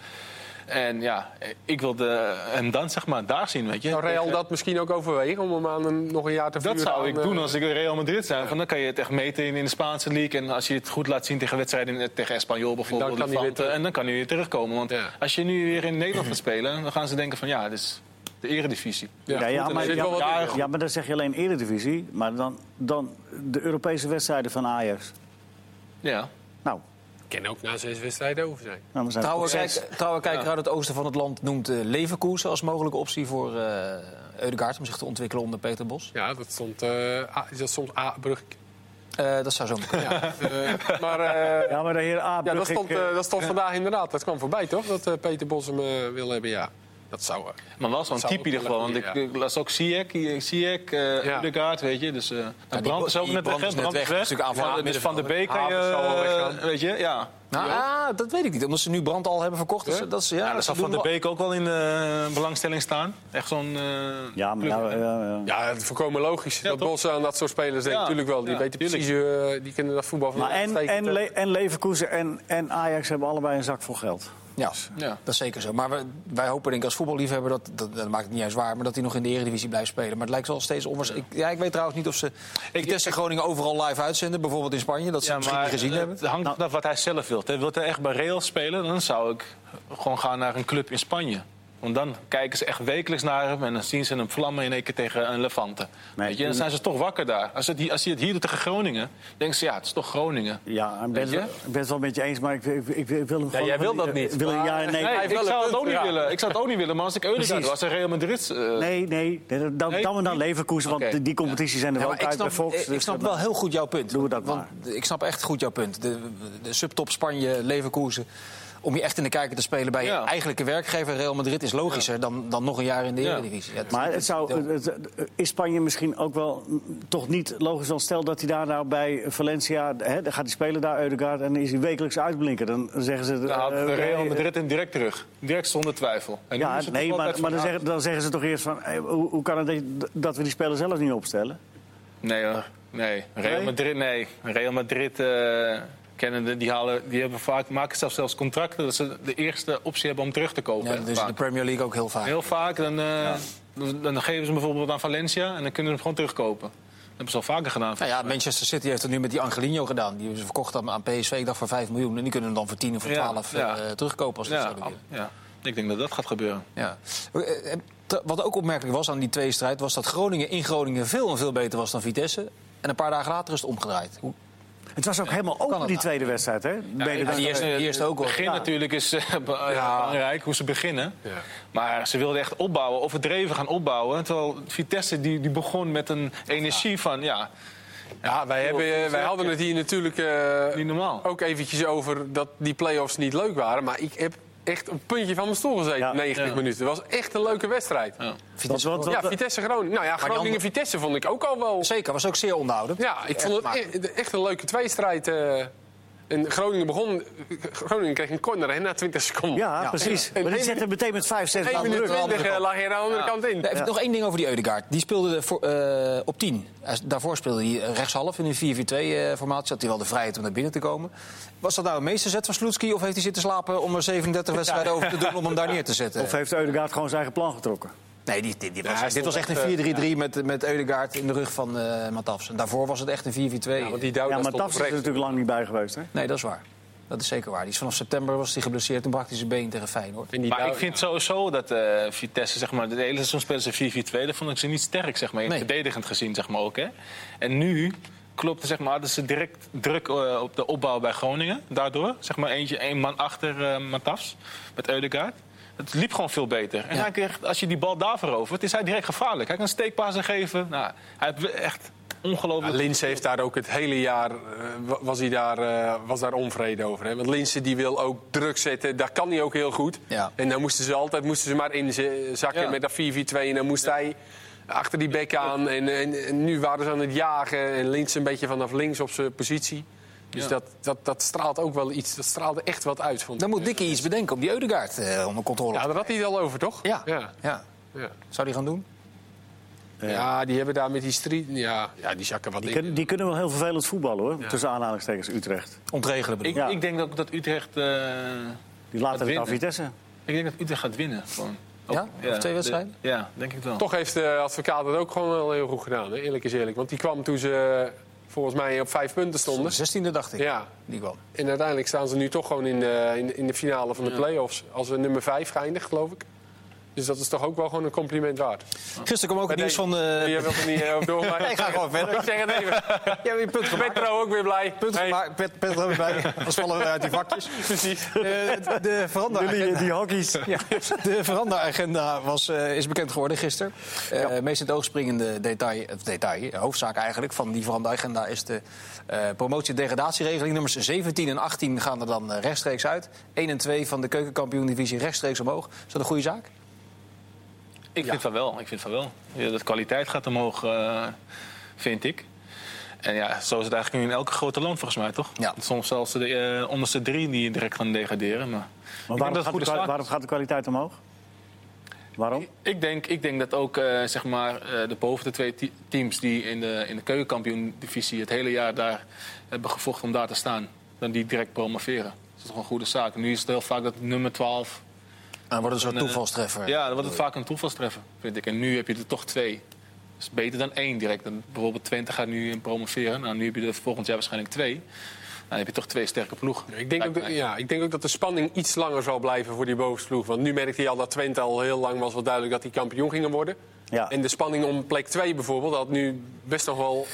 S3: En ja, eh, ik wil de, hem dan zeg maar daar zien, weet je.
S1: Nou,
S4: Zou Real dat misschien ook overwegen om hem aan een, nog een jaar te
S3: Dat
S4: vuren?
S3: zou
S4: aan,
S3: ik
S4: eh,
S3: doen als ik Real Madrid zijn. Van, dan kan je het echt meten in, in de Spaanse league. En als je het goed laat zien tegen wedstrijden eh, tegen Espanyol bijvoorbeeld.
S4: Dan kan hij weer
S3: Levante,
S4: terug.
S3: en dan kan hij weer terugkomen. Want
S4: Ja.
S3: als je nu weer in
S4: *clears throat*
S3: Nederland gaat spelen, dan gaan ze denken van ja, dit is de eredivisie.
S4: Ja,
S2: Ja, ja,
S4: goed, er
S2: maar-
S4: zit
S2: ja,
S4: wel wat
S3: maar-
S4: in,
S3: ja,
S2: Ja, maar dan zeg je alleen Eredivisie. Maar dan, dan de Europese wedstrijden van Ajax.
S3: Ja.
S2: Nou,
S4: Ik ken ook na zes wedstrijden over zijn.
S2: nou we zijn
S1: Trouwe,
S2: toch-
S1: kijk, trouwe kijker uit het oosten van het land noemt eh Leverkusen als mogelijke optie voor eh Eudegaard... om zich te ontwikkelen onder Peter Bos.
S4: Ja, dat stond, eh, A- is dat soms A-brug.
S1: Eh, dat zou zo moeten. kunnen.
S4: Eh, maar eh,
S2: Ja, maar de heer A.
S4: ja, dat
S2: Brugge,
S4: stond,
S2: ik, eh,
S4: eh, dat stond vandaag inderdaad. Dat kwam voorbij, toch? Dat eh, Peter Bos hem eh, wil hebben, ja. Dat zou... eh,
S3: Maar wel zo'n
S4: Dat zou
S3: type in ieder
S4: ook wel
S3: geval. Want ik
S4: lekker,
S3: ik las ook Ziyech, eh, Ziyech,
S4: Ja.
S3: eh Udegaard, weet je. Dus eh nou, Brand is ook
S1: die
S3: net weg,
S1: Brand
S3: hè,
S1: is net
S3: Brand
S1: weg.
S3: is weg.
S1: Dat is natuurlijk aanvallend
S3: Ja, dus Van de Beek kan
S4: Havert zal wel
S3: je,
S4: weggaan.
S3: weet je, ja.
S1: Nou, ah, dat weet ik niet. Omdat ze nu brand al hebben verkocht. Dus, dat is, ja,
S3: Ja, dan
S1: ze
S3: zal Van
S1: doen
S3: de
S1: wel-
S3: Beek ook wel in eh, belangstelling staan. Echt zo'n... eh,
S2: Ja, maar nou,
S3: club.
S2: ja, ja, ja.
S4: Ja, het is voorkomen logisch. dat
S3: toch?
S4: Bos aan dat soort spelers denkt.
S3: Ja,
S4: Tuurlijk wel. Die
S3: ja,
S4: weten
S3: tuurlijk.
S4: precies... eh, die kennen dat voetbal van
S2: Maar
S4: de eh,
S2: en,
S4: steek.
S2: en, Le- en Leverkusen en, en Ajax hebben allebei een zak vol geld.
S1: Ja,
S3: Ja.
S1: dat is zeker zo. Maar we- wij hopen denk ik als voetballiefhebber, dat, dat, dat maakt het niet eens waar... maar dat hij nog in de eredivisie blijft spelen. Maar het lijkt wel steeds onwaarschijnlijk. Ja. ik weet trouwens niet of ze Vitesse Groningen overal live uitzenden. Bijvoorbeeld in Spanje, dat ze het misschien niet gezien
S3: het
S1: hebben.
S3: hangt vanaf wat hij zelf wilt. Hij Wil hij echt bij Real spelen, dan zou ik gewoon gaan naar een club in Spanje. Want dan kijken ze echt wekelijks naar hem en dan zien ze hem vlammen in één keer tegen een Levante.
S2: Nee.
S3: Weet je, dan zijn ze toch wakker daar. Als, het, hier- als hij het hier doet tegen Groningen, denken ze ja, het is toch Groningen.
S2: Ja, ik ben
S3: Weet je?
S2: het wel- wel met je eens, maar ik, ik, ik- ik wil hem gewoon...
S3: jij wil dat
S2: ik-
S3: niet,
S2: Wil een
S1: Ah,
S2: ja en nee.
S3: Nee,
S4: heeft
S3: ik
S4: wel een
S3: zou, het
S4: punt,
S3: ook niet
S4: ja.
S3: willen. ik zou het ook niet willen, maar als ik Eudegaard
S2: Precies.
S3: was en Real Madrid... eh,
S2: Nee, nee, nee, dan,
S3: Nee,
S2: dan, dan Leverkusen, want
S3: Oké.
S2: die- die competities zijn er
S1: Ja,
S2: wel
S1: maar ik
S2: uit bij
S1: snap,
S2: Fox.
S1: ik
S2: dus
S1: snap
S2: dat-
S1: wel heel goed jouw punt.
S2: Doen we dat
S1: Want Ik snap echt goed jouw punt. De, de subtop Spanje, Leverkusen. Om je echt in de kijker te spelen bij
S3: Ja.
S1: je eigenlijke werkgever Real Madrid... is logischer dan, dan nog een jaar in de eredivisie. Ja, het-
S2: eh, Maar het zou, het- het- is Spanje misschien ook wel mm, toch niet logisch? Want stel dat hij daar nou bij Valencia, hè, dan gaat hij spelen daar, Eudegaard... en dan is hij wekelijks uitblinken. Dan zeggen ze...
S3: Dan haalt
S2: eh,
S3: Real
S2: eh,
S3: Madrid hem direct terug. Direct zonder twijfel. En nu
S2: Ja,
S3: is het
S2: nee,
S3: toch
S2: maar,
S3: altijd
S2: maar dan,
S3: van,
S2: zeggen, dan zeggen ze toch eerst van... hé, hoe, hoe kan het dat je- dat we die spelers zelf niet opstellen?
S3: Nee hoor. Nee. Real
S2: Nee?
S3: Madrid, nee. Real Madrid eh, kennen de, die, halen, die hebben vaak, maken zelfs, zelfs contracten dat ze de eerste optie hebben om terug te kopen.
S1: ja,
S3: hè,
S1: dat is in
S3: vaak.
S1: de Premier League ook heel vaak.
S3: Heel vaak dan, eh, dan, dan geven ze hem bijvoorbeeld aan Valencia en dan kunnen ze hem gewoon terugkopen. Dat hebben ze al vaker gedaan.
S1: Nou ja, Manchester City heeft het nu met die Angelino gedaan. Die hebben ze verkocht aan aan PSV, ik dacht voor 5 miljoen. En die kunnen hem dan voor 10 of voor
S3: Ja,
S1: 12 eh,
S3: ja.
S1: terugkopen als ze
S3: Ja,
S1: dat zouden
S3: ab-
S1: willen.
S3: ja. Ik denk dat dat gaat gebeuren.
S1: Ja. Eh, eh, te- Wat ook opmerkelijk was aan die tweestrijd... was dat Groningen in Groningen veel en veel beter was dan Vitesse. En een paar dagen later is het omgedraaid. Hoe-
S2: Het was ook helemaal open,
S1: het
S2: die
S1: nou?
S2: tweede wedstrijd, hè? Mede
S1: ja,
S2: dan-
S1: die eerste- die eerste ook wel.
S3: Het begin
S1: Ja.
S3: natuurlijk is eh, be- ja, belangrijk, hoe ze beginnen. Maar ze wilden echt opbouwen, overdreven gaan opbouwen. Terwijl Vitesse die, die begon met een energie van... Ja,
S4: Ja, wij, hebben, eh, wij hadden het hier natuurlijk eh,
S3: Niet normaal.
S4: ook eventjes over dat die play-offs niet leuk waren. Maar ik heb echt een puntje van mijn stoel gezeten,
S2: Ja.
S4: 90
S3: Ja.
S4: minuten. Het was echt een leuke wedstrijd. Ja,
S2: Want-
S1: Vitesse
S2: want- want-
S4: Vitesse-Groningen. Nou ja,
S1: andere-
S4: Groningen-Vitesse vond ik ook al wel...
S1: Zeker, was ook zeer onderhoudend.
S4: Ja, ik vond het
S1: maar-
S4: e- echt een leuke tweestrijd. eh. en Groningen begon... Groningen kreeg een corner hè, na 20 seconden.
S2: ja, precies.
S4: En
S2: Maar die
S4: één
S2: zetten meteen met 5, 6
S4: 1
S2: aan
S4: minuut
S2: druk.
S4: 20 eh, lag hij aan de andere kant in.
S1: Ja, even Nog één ding over die Eudegaard. Die speelde voor, eh, op 10. Hij- Daarvoor speelde hij eh, rechtshalf in een 4-4-2-formatie. Had hij wel de vrijheid om naar binnen te komen. Was dat nou een meesterzet van Sloetski? Of heeft hij zitten slapen om er 37 wedstrijden over te doen om hem daar neer te zetten?
S2: Of heeft Eudegaard gewoon zijn eigen plan getrokken?
S1: nee, die, die, die was,
S4: hij
S1: dit was echt
S4: eh,
S1: een 4-3-3 met, met Eudegaard in de rug van eh Matafs. En daarvoor was het echt een 4-4-2.
S4: Ja, want die Douda
S2: Ja, maar Tafs is
S4: stond
S2: er
S4: oprecht.
S2: natuurlijk lang niet bij geweest, hè?
S1: Nee, dat is waar. Dat is zeker waar. Die is vanaf september was hij geblesseerd. Toen brak hij zijn been tegen Feyenoord.
S4: En die
S3: Maar
S4: Douda-
S3: ik vind sowieso dat eh, Vitesse, zeg maar, de hele seizoen spelen ze 4-4-2. Dat vond ik ze niet sterk, zeg maar, in
S1: Nee.
S3: verdedigend gezien, zeg maar ook. Hè. En nu klopte, zeg maar, hadden ze direct druk eh, op de opbouw bij Groningen. Daardoor, zeg maar, eentje, één man achter eh Matafs met Eudegaard. Het liep gewoon veel beter. En hij kreeg, als je die bal daar verovert, is hij direct gevaarlijk. Hij kan steekpasen geven. Nou, hij heeft echt
S4: Ja,
S3: ongelooflijk...
S4: Linse heeft daar ook het hele jaar eh, wa- was, hij daar, eh, was daar onvrede over. Hè? Want Linse die wil ook druk zetten, daar kan hij ook heel goed.
S1: Ja.
S4: En dan moesten ze altijd moesten ze maar inzakken
S3: Ja.
S4: met dat 4-4-2. En dan moest hij achter die bek aan. En, en, en nu waren ze aan het jagen. En Linse een beetje vanaf links op zijn positie. Dus
S3: Ja.
S4: dat, dat, dat straalt ook wel iets. Dat straalde echt wat uit. Vond
S1: Dan
S4: ik.
S1: moet Dikkie iets bedenken om die Eudegaard eh, onder controle te
S4: Ja, daar had hij het al over, toch?
S1: Ja.
S4: ja.
S1: Ja.
S4: ja.
S1: Zou die gaan doen?
S4: Ja, die hebben daar met die street... Ja, ja die zakken wat
S2: Die,
S4: in.
S2: kunnen- die kunnen wel heel vervelend voetballen, hoor. Tussen aanhalingstekens Utrecht.
S1: Ontregelen bedoel
S3: Ik,
S1: ik.
S2: Ja.
S3: ik denk ook dat Utrecht... eh,
S2: Die laten het
S3: winnen.
S2: aan Vitesse.
S3: ik denk dat Utrecht gaat winnen. Gewoon.
S1: Ja?
S3: Ook-
S1: Over twee
S3: de-
S1: wedstrijden?
S3: ja, denk ik wel.
S4: Toch heeft de advocaat het ook gewoon wel heel goed gedaan, hè? eerlijk is eerlijk. Want die kwam toen ze volgens mij op vijf punten stonden.
S1: De 16e dacht ik.
S4: Ja,
S1: Die kwam.
S4: en uiteindelijk staan ze nu toch gewoon in de, in, in de finale van de play-offs. Als we nummer vijf geëindigd, geloof ik. Dus dat is toch ook wel gewoon een compliment waard.
S1: Gisteren kwam ook het
S4: Maar
S1: nieuws van
S4: nee, Je
S1: de...
S4: wilt er niet eh, op door,
S1: *laughs*
S4: maar...
S1: Ik ga gewoon verder.
S4: *laughs* Ik zeg het even.
S1: Ja, je punt
S4: Ik ben
S1: gemaakt.
S4: trouw ook weer blij.
S1: Punt
S4: Hey.
S1: gemaakt. Pet, pet er ook bij. Anders vallen we uit die vakjes.
S4: Precies.
S1: Eh, de- de veranderagenda,
S2: Die, die hockey's.
S1: *laughs* ja, de veranderagenda was, eh, is bekend geworden gisteren. Eh Meest in het oog springende detail, of detail, eh, hoofdzaak eigenlijk, van die veranderagenda is de eh, promotie-degradatieregeling. Nummers 17 en 18 gaan er dan eh, rechtstreeks uit. 1 en 2 van de keukenkampioen-divisie rechtstreeks omhoog. Is dat een goede zaak?
S3: Ik vind van wel. Ik vind van wel. Ja, dat kwaliteit gaat omhoog, eh, vind ik. En ja, zo is het eigenlijk nu in elk grote land volgens mij, toch?
S1: Ja.
S3: Soms zelfs de eh, onderste drie die direct gaan degraderen. Maar, ik denk
S2: Maar waarom
S3: dat het
S2: gaat, de,
S3: goede zaak
S2: kwa-
S3: is.
S2: waarom gaat de kwaliteit omhoog? Waarom?
S3: Ik denk, ik denk dat ook eh, zeg maar, eh, de boven de twee te- teams die in de, in de keukenkampioen-divisie het hele jaar daar hebben gevochten om daar te staan, dan die direct promoveren. Dat is toch een goede zaak. Nu is het heel vaak dat nummer 12.
S1: Dan Nou, wordt het een
S3: een,
S1: soort
S3: eh,
S1: toevalstreffer.
S3: Ja, dan wordt het vaak een toevalstreffer, vind ik. En nu heb je er toch twee. Dat is beter dan één direct. Dan bijvoorbeeld Twente gaat nu in promoveren. Nou, nu heb je er volgend jaar waarschijnlijk twee. Nou, dan heb je toch twee sterke ploegen.
S4: Ik denk, ook,
S3: Lijkt
S4: dat-
S3: mij.
S4: ja, ik denk ook dat de spanning iets langer zal blijven voor die bovenste ploeg. Want nu merkte hij al dat Twente al heel lang was wel duidelijk dat die kampioen gingen worden.
S2: Ja.
S4: En de spanning om plek 2 bijvoorbeeld, dat nu best nog wel...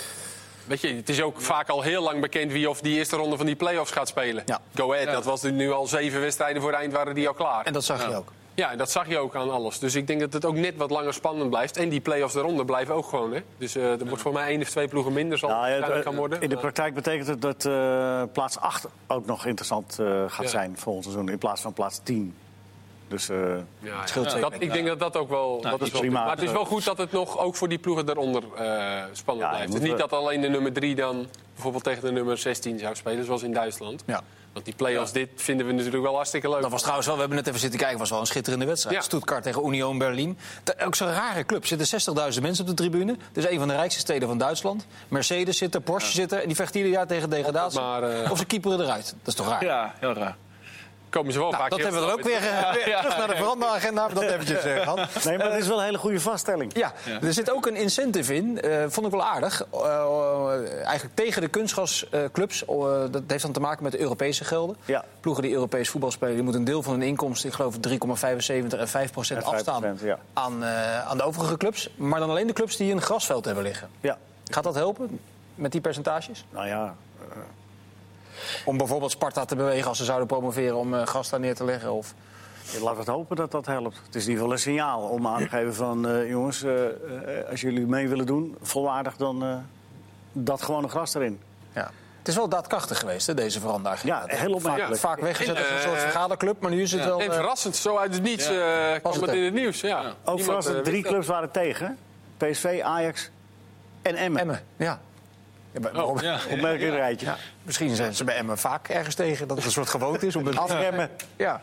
S4: Weet je, het is ook vaak al heel lang bekend wie of die eerste ronde van die play-offs gaat spelen.
S1: Ja.
S4: Go Ahead, dat was nu al zeven wedstrijden voor het eind waren die al klaar.
S1: En dat zag je ook.
S4: Ja, en dat zag je ook aan alles. Dus ik denk dat het ook net wat langer spannend blijft. En die play-offs daaronder blijven ook gewoon. Hè? Dus eh, er wordt voor mij één of twee ploegen minder zal
S2: Nou, ja,
S4: het
S2: het-
S4: gaan worden.
S2: in de
S4: Maar-
S2: praktijk betekent het dat eh, plaats 8 ook nog interessant eh, gaat
S4: Ja.
S2: zijn volgend seizoen. In plaats van plaats 10. Dus eh,
S4: Ja, ja.
S1: scheelt Nou, twee
S4: Dat-
S1: plekken.
S4: ik denk dat dat ook wel. dat is
S2: prima.
S4: wel goed. Maar
S1: eh,
S4: het is wel goed dat het nog ook voor die ploegen daaronder eh, spannend
S2: Ja,
S4: blijft.
S2: moeten
S4: Dus niet
S2: we-
S4: dat alleen de nummer 3 dan bijvoorbeeld tegen de nummer 16 zou spelen, zoals in Duitsland.
S1: Ja.
S4: Want die play-offs, dit vinden we natuurlijk wel hartstikke leuk.
S1: Dat was trouwens wel, we hebben net even zitten kijken, was wel een schitterende wedstrijd.
S4: Ja.
S1: Stuttgart tegen Union Berlin. T- Ook zo'n rare club. Er zitten 60.000 mensen op de tribune. Dus een van de rijkste steden van Duitsland. Mercedes zit er, Porsche zit er. En die vechten ieder jaar tegen degradatie.
S4: Maar, eh,
S1: Of ze keeperen eruit. Dat is toch raar?
S3: Ja, heel raar.
S4: Komen ze wel
S1: Nou,
S4: vaak
S1: dat
S4: heel
S1: hebben we er ook
S4: snel
S1: weer, eh,
S4: *laughs*
S1: weer terug naar de veranderagenda. Dat eventjes eh, gehad.
S2: nee, maar het is wel een hele goede vaststelling.
S1: Ja, er zit ook een incentive in. eh, vond ik wel aardig. Eh, eigenlijk tegen de kunstgasclubs. eh, dat heeft dan te maken met de Europese gelden.
S2: Ja.
S1: Ploegen die Europees voetbal spelen, die moeten een deel van hun inkomsten, ik geloof 3,75 en 5
S2: En 5%,
S1: afstaan
S2: ja.
S1: aan, eh, aan de overige clubs. Maar dan alleen de clubs die een grasveld hebben liggen.
S2: Ja.
S1: Gaat dat helpen met die percentages?
S2: Nou ja,
S1: Om bijvoorbeeld Sparta te bewegen als ze zouden promoveren om eh gras daar neer te leggen? Of...
S2: Laten we het hopen dat dat helpt. Het is in ieder geval een signaal om aan te geven van... eh, jongens, eh, eh, als jullie mee willen doen, volwaardig, dan eh, dat gewone gras erin.
S1: Ja. Het is wel daadkrachtig geweest, hè, deze veranderagenda.
S2: Ja, heel opmerkelijk.
S1: Vaak weggezet
S4: En,
S1: als een
S4: eh,
S1: soort vergaderclub, maar nu is het wel...
S4: En
S1: eh,
S4: verrassend, zo uit het niets eh, kwam
S1: het
S4: het
S1: ook.
S4: in het nieuws. Ja.
S2: Ook
S4: Niemand,
S2: verrassend,
S4: eh,
S2: drie
S4: wist dat.
S2: clubs waren tegen. PSV, Ajax en Emmen.
S1: Emmen, ja. Ja, maar waarom-
S3: Oh, Ja.
S2: Opmerkelijk rijtje.
S1: Misschien zijn ze bij Emmen vaak ergens tegen dat het een soort gewoonte is om het
S2: Afremmen.
S1: Ja.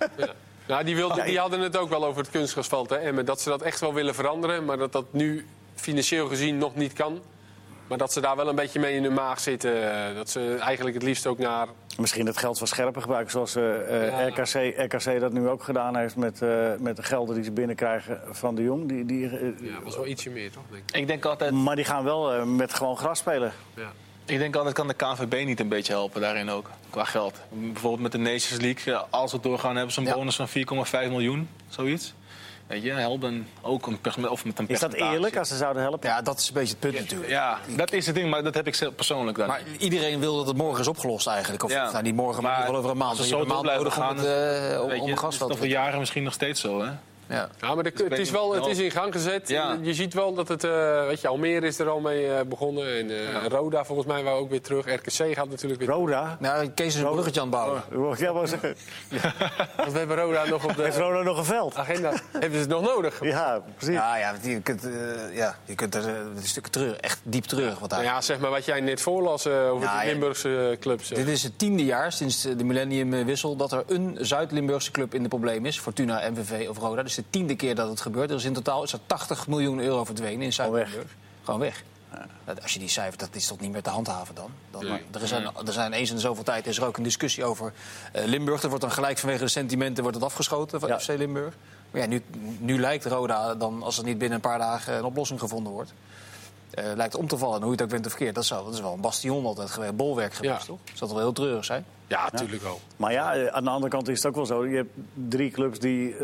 S4: Nou, die, wilden, die hadden het ook wel over het kunstgrasveld. Hè? Emmen, dat ze dat echt wel willen veranderen. Maar dat dat nu financieel gezien nog niet kan. Maar dat ze daar wel een beetje mee in hun maag zitten. eh, Dat ze eigenlijk het liefst ook naar...
S2: Misschien het geld van scherper gebruiken, zoals eh, eh,
S4: Ja.
S2: RKC, RKC dat nu ook gedaan heeft... met, eh, met de gelden die ze binnenkrijgen van de Jong. Die, die, eh,
S4: Ja, was wel ietsje meer, toch? Denk ik.
S3: Ik denk altijd,
S2: Maar die gaan wel eh, met gewoon gras spelen.
S4: Ja.
S3: Ik denk altijd kan de KNVB niet een beetje helpen daarin ook, qua geld. Bijvoorbeeld met de Nations League, ja, als we doorgaan hebben ze een
S1: Ja.
S3: bonus van 4,5 miljoen, zoiets. Weet je, help dan ook een pers- of met een
S2: Is dat
S3: percentage.
S2: eerlijk als ze zouden helpen?
S1: ja, dat is een beetje het punt natuurlijk.
S3: Ja, dat is het ding, maar dat heb ik zelf persoonlijk dan.
S1: Maar iedereen wil dat het morgen is opgelost eigenlijk. Of
S3: Ja.
S1: nou, niet morgen, maar,
S3: Maar
S1: wel over een maand.
S3: als
S1: Dus
S3: we
S1: je hebt een
S3: zo
S1: maand
S3: door
S1: nodig
S3: blijven
S1: om, het, eh, om-
S3: Weet je,
S1: om
S3: dat is
S1: gasveld
S3: toch
S1: te
S3: voor jaren misschien nog steeds zo, hè?
S1: ja.
S4: Ja, maar de-
S3: ik
S4: het, is
S3: niet
S4: wel, het
S3: wel-
S4: is in gang gezet.
S3: Ja.
S4: Je ziet wel dat het... eh, weet je, Almere is er al mee eh, begonnen. En eh, Roda volgens mij wou ook weer terug. RKC gaat natuurlijk weer...
S2: Roda?
S1: Nou, Kees
S3: Oh.
S1: is een bruggetje aan het bouwen.
S2: Ja, maar ze-
S4: Want we hebben Roda nog
S1: *laughs*
S4: op
S2: heeft
S4: de Ah.
S2: Roda nog een veld?
S4: agenda. Hebben ze het nog nodig?
S2: Ja, precies.
S1: Ja, ja, want je kunt, eh, ja, je kunt er eh, een stuk treurig, echt diep treurig wat daar.
S4: Nou ja, zeg maar wat jij net voorlas eh, over
S1: Nou,
S4: de
S1: ja.
S4: Limburgse eh, clubs. eh.
S1: Dit is het tiende jaar sinds eh, de millenniumwissel dat er een Zuid-Limburgse club in de probleem is. Fortuna, MVV of Roda. Dus de tiende keer dat het gebeurt. Er is in totaal is er 80 miljoen euro verdwenen in Zuid-Limburg. Gewoon weg. Dat- Als je die cijfer, dat is toch niet meer te handhaven dan? dan
S3: Nee.
S1: Er, is een, er zijn eens in zoveel tijd is er ook een discussie over eh, Limburg. Er wordt dan gelijk vanwege de sentimenten wordt het afgeschoten van
S2: Ja.
S1: FC Limburg. Maar ja, nu, nu lijkt Roda dan, als er niet binnen een paar dagen een oplossing gevonden wordt... eh, lijkt om te vallen, En hoe je het ook bent of verkeerd. Dat, zou, dat is wel een bastion altijd geweest, bolwerk geweest,
S4: Ja.
S1: toch? Dat zal toch wel heel treurig zijn?
S4: Ja, natuurlijk wel.
S2: Maar ja, eh, aan de andere kant is het ook wel zo. Je hebt drie clubs die eh,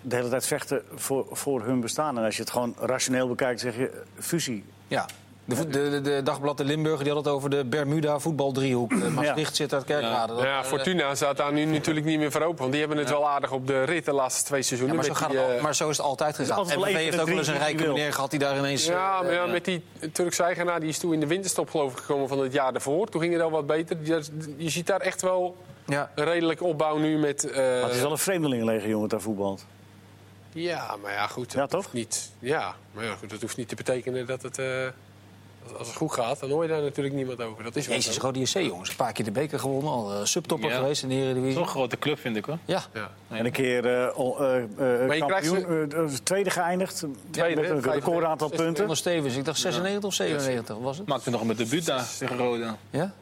S2: de hele tijd vechten voor, voor hun bestaan. En als je het gewoon rationeel bekijkt, zeg je eh, fusie.
S1: Ja. De, vo- de, de, de dagblad De Limburger die had het over de Bermuda voetbaldriehoek. Eh, Maastricht zit uit Kerkrade. Dat-
S4: Nou ja, Fortuna staat daar nu natuurlijk niet meer voor open. Want die hebben het wel aardig op de rit de laatste twee
S1: Ja,
S4: seizoenen.
S1: maar, zo
S4: met
S1: gaat
S4: die,
S1: het al,
S4: eh,
S1: maar zo is het altijd gegaan.
S2: altijd
S1: En
S2: wel even
S1: heeft
S2: de
S1: ook wel eens een
S2: drie die
S1: rijke
S2: wil.
S1: meneer gehad die daar ineens...
S4: Ja,
S1: eh,
S4: maar ja, met die Turkse eigenaar die is toen in de winterstop geloof ik gekomen van het jaar daarvoor. Toen ging het al wat beter. Je, je ziet daar echt wel
S1: ja.
S4: een redelijke opbouw nu met... eh,
S2: Maar het is wel een vreemdelingenlegioen wat daar voetbalt.
S4: Ja, maar ja, goed.
S2: Ja,
S4: dat
S2: toch?
S4: hoeft Niet. Ja, maar ja, goed, dat hoeft niet te betekenen dat het... eh, als- als het goed gaat, dan hoor je daar natuurlijk niemand over. Dat is wel
S1: Jezus,
S4: zo.
S1: Rode JC, jongens. Een paar keer de beker gewonnen. Al eh, subtopper
S3: Ja.
S1: geweest in de Eredivisie.
S3: Zo'n grote club vind ik hoor.
S1: Ja.
S4: Ja.
S2: En een keer eh, o- eh, eh, kampioen,
S4: krijgt
S2: eh, eh, tweede geëindigd.
S4: Tweede,
S2: met een
S4: vijfde,
S2: recordaantal
S4: zesde.
S2: punten.
S1: Onder Stevens. Ik dacht 96 of 97 was het.
S3: Maakte nog een debuut daar tegen Roda.
S1: Ja?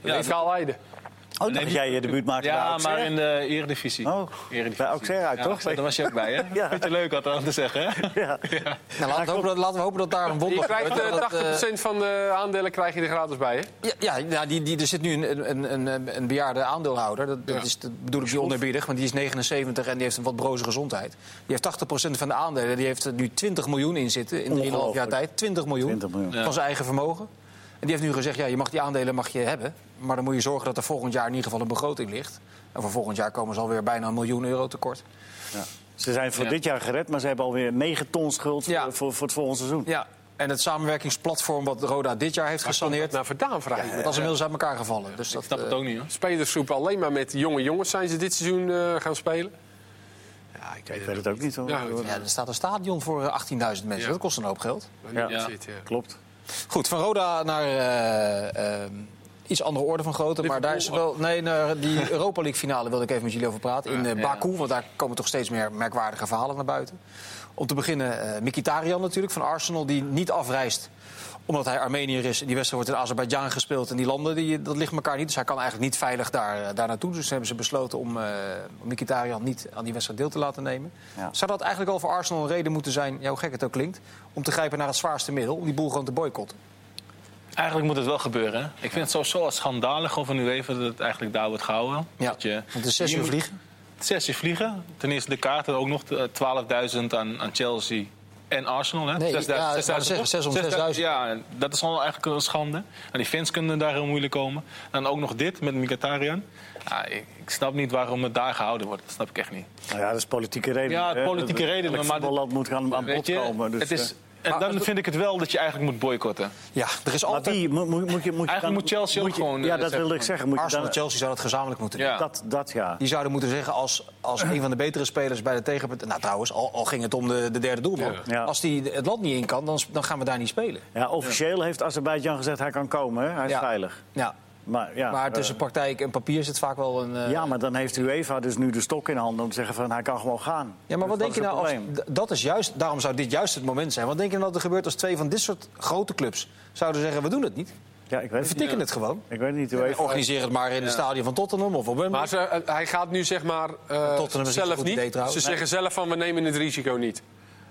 S4: Ja, in Kaaleide.
S2: Oh, dat jij je debuut maakte bij
S3: Ja,
S2: Auxerre.
S3: maar in de Eredivisie.
S2: Oh, bij Auxerre uit,
S3: Ja,
S2: toch?
S3: Daar was je ook bij, hè?
S2: *laughs* Ja.
S3: Vind je leuk, had er aan te zeggen, hè?
S2: Ja.
S1: Nou, laten, we hopen dat, laten we hopen dat daar een
S4: Je
S1: wonder
S4: krijgt
S1: gebeurt,
S4: eh,
S1: dat dat, eh,
S4: 80% van de aandelen krijg je er gratis bij, hè?
S1: Ja, ja ja, die, die, er zit nu een, een, een- een, een bejaarde aandeelhouder. Dat, dat
S4: Ja.
S1: is dat bedoel ik niet oneerbiedig, maar die is 79 en die heeft een wat broze gezondheid. Die heeft 80% van de aandelen. Die heeft er nu 20 miljoen in zitten in 3,5 jaar
S2: Ongelooflijk.
S1: tijd. 20 miljoen,
S2: 20 miljoen.
S1: van zijn eigen vermogen. En die heeft nu gezegd, ja, je mag die aandelen mag je hebben. Maar dan moet je zorgen dat er volgend jaar in ieder geval een begroting ligt. En voor volgend jaar komen ze alweer bijna een miljoen euro tekort.
S2: Ze zijn voor
S3: Ja.
S2: dit jaar gered, maar ze hebben alweer 9 ton schuld voor-
S1: Ja.
S2: voor, voor het volgende seizoen.
S1: Ja, en het samenwerkingsplatform wat Roda dit jaar heeft gesaneerd...
S4: Nou, vandaan vraag ik me.
S1: dat is inmiddels uit elkaar gevallen. Dus dat,
S3: Ik snap het
S1: eh,
S3: ook niet, hoor.
S4: spelersgroep alleen maar met jonge jongens zijn ze dit seizoen eh, gaan spelen. Ja, ik
S2: Ik
S4: weet
S2: weet
S4: het
S2: het ook niet hoor.
S4: Ja, goed.
S1: Ja, er staat een stadion voor eh, 18.000 mensen.
S4: Ja.
S1: Dat kost een hoop geld.
S4: ook
S2: Ja.
S4: niet.
S3: Ja.
S4: Zit, ja.
S2: Klopt.
S1: Goed, van Roda naar eh, ehm, iets andere orde van grootte. Maar daar is wel. Nee, naar die Europa League finale wilde ik even met jullie over praten. In eh, Baku, want daar komen toch steeds meer merkwaardige verhalen naar buiten. Om te beginnen eh Mikitarian natuurlijk van Arsenal, die niet afreist omdat hij Armeniër is. En Die wedstrijd wordt in Azerbeidzjan gespeeld. En die landen, die, dat ligt elkaar niet. Dus hij kan eigenlijk niet veilig daar, eh, daar naartoe. Dus hebben ze besloten om eh, Mikitarian niet aan die wedstrijd deel te laten nemen.
S2: Ja.
S1: Zou dat eigenlijk al voor Arsenal een reden moeten zijn, ja, hoe gek het ook klinkt... om te grijpen naar het zwaarste middel, om die boel gewoon te boycotten?
S3: Eigenlijk moet het wel gebeuren, hè? Ik vind het sowieso al schandalig gewoon van nu even dat het eigenlijk daar wordt gehouden.
S1: Ja,
S3: Dat je,
S1: want de zes
S3: je
S1: uur
S3: moet-
S1: vliegen.
S3: Zes uur vliegen. Ten eerste de kaarten ook nog eh, 12.000 aan, aan Chelsea en Arsenal. Hè?
S1: Nee,
S3: 6.000,
S1: ja, ik wou
S3: 6.000,
S1: zeggen,
S3: toch?
S1: 600, 6.000.
S3: Ja, en dat is gewoon eigenlijk een schande. En die fans kunnen daar heel moeilijk komen. En dan ook nog dit met Mkhitaryan. Ja, ik, ik snap niet waarom het daar gehouden wordt. Dat snap ik echt niet.
S2: Nou ja, dat is politieke reden.
S3: Ja, politieke redenen, maar
S2: Maar land moet gaan aan bod
S3: Weet je,
S2: komen. Dus,
S3: het is,
S2: eh,
S3: en dan vind ik het wel dat je eigenlijk moet boycotten.
S1: Ja, er is
S2: maar
S1: altijd...
S2: die moet, moet, moet je, moet je
S3: Eigenlijk
S2: dan-
S3: moet Chelsea ook
S2: je-
S3: gewoon,
S2: Ja,
S3: eh,
S2: dat
S3: zeggen
S2: wilde ik
S3: van-
S2: zeggen. Moet je
S1: Arsenal en
S2: dan,
S1: Chelsea zouden het gezamenlijk moeten doen.
S3: Ja.
S2: dat, dat ja.
S1: Die zouden moeten zeggen als, als een van de betere spelers bij de tegenpartij... Nou, trouwens, al, al ging het om de, de derde doelman.
S2: Ja.
S1: Als die het land niet in kan, dan, dan gaan we daar niet spelen.
S2: ja officieel heeft Azerbeidzjan gezegd hij kan komen. Hè? Hij is
S1: Ja.
S2: veilig.
S1: Ja.
S2: Maar, ja,
S1: Maar
S2: eh,
S1: tussen praktijk en papier zit vaak wel een... eh,
S2: ja, maar dan heeft UEFA dus nu de stok in handen om te zeggen van hij kan gewoon gaan.
S1: Ja, maar wat
S2: Dus
S1: denk je
S2: dat is
S1: nou
S2: het
S1: als...
S2: probleem.
S1: d- Dat is juist, daarom zou dit juist het moment zijn. Wat denk je nou dat er gebeurt als twee van dit soort grote clubs... zouden zeggen, we doen het niet.
S2: Ja, ik
S1: We
S2: weet het niet.
S1: vertikken het gewoon.
S2: Ik weet het niet.
S1: We
S2: UEFA.
S1: Organiseer het maar in het stadion van Tottenham of op Wembley.
S4: Maar ze, eh, hij gaat nu zeg maar eh,
S1: Tottenham is niet zo'n
S4: zelf
S1: goed
S4: niet.
S1: idee
S4: ze
S1: trouwens. Nee.
S4: zeggen zelf van we nemen het risico niet.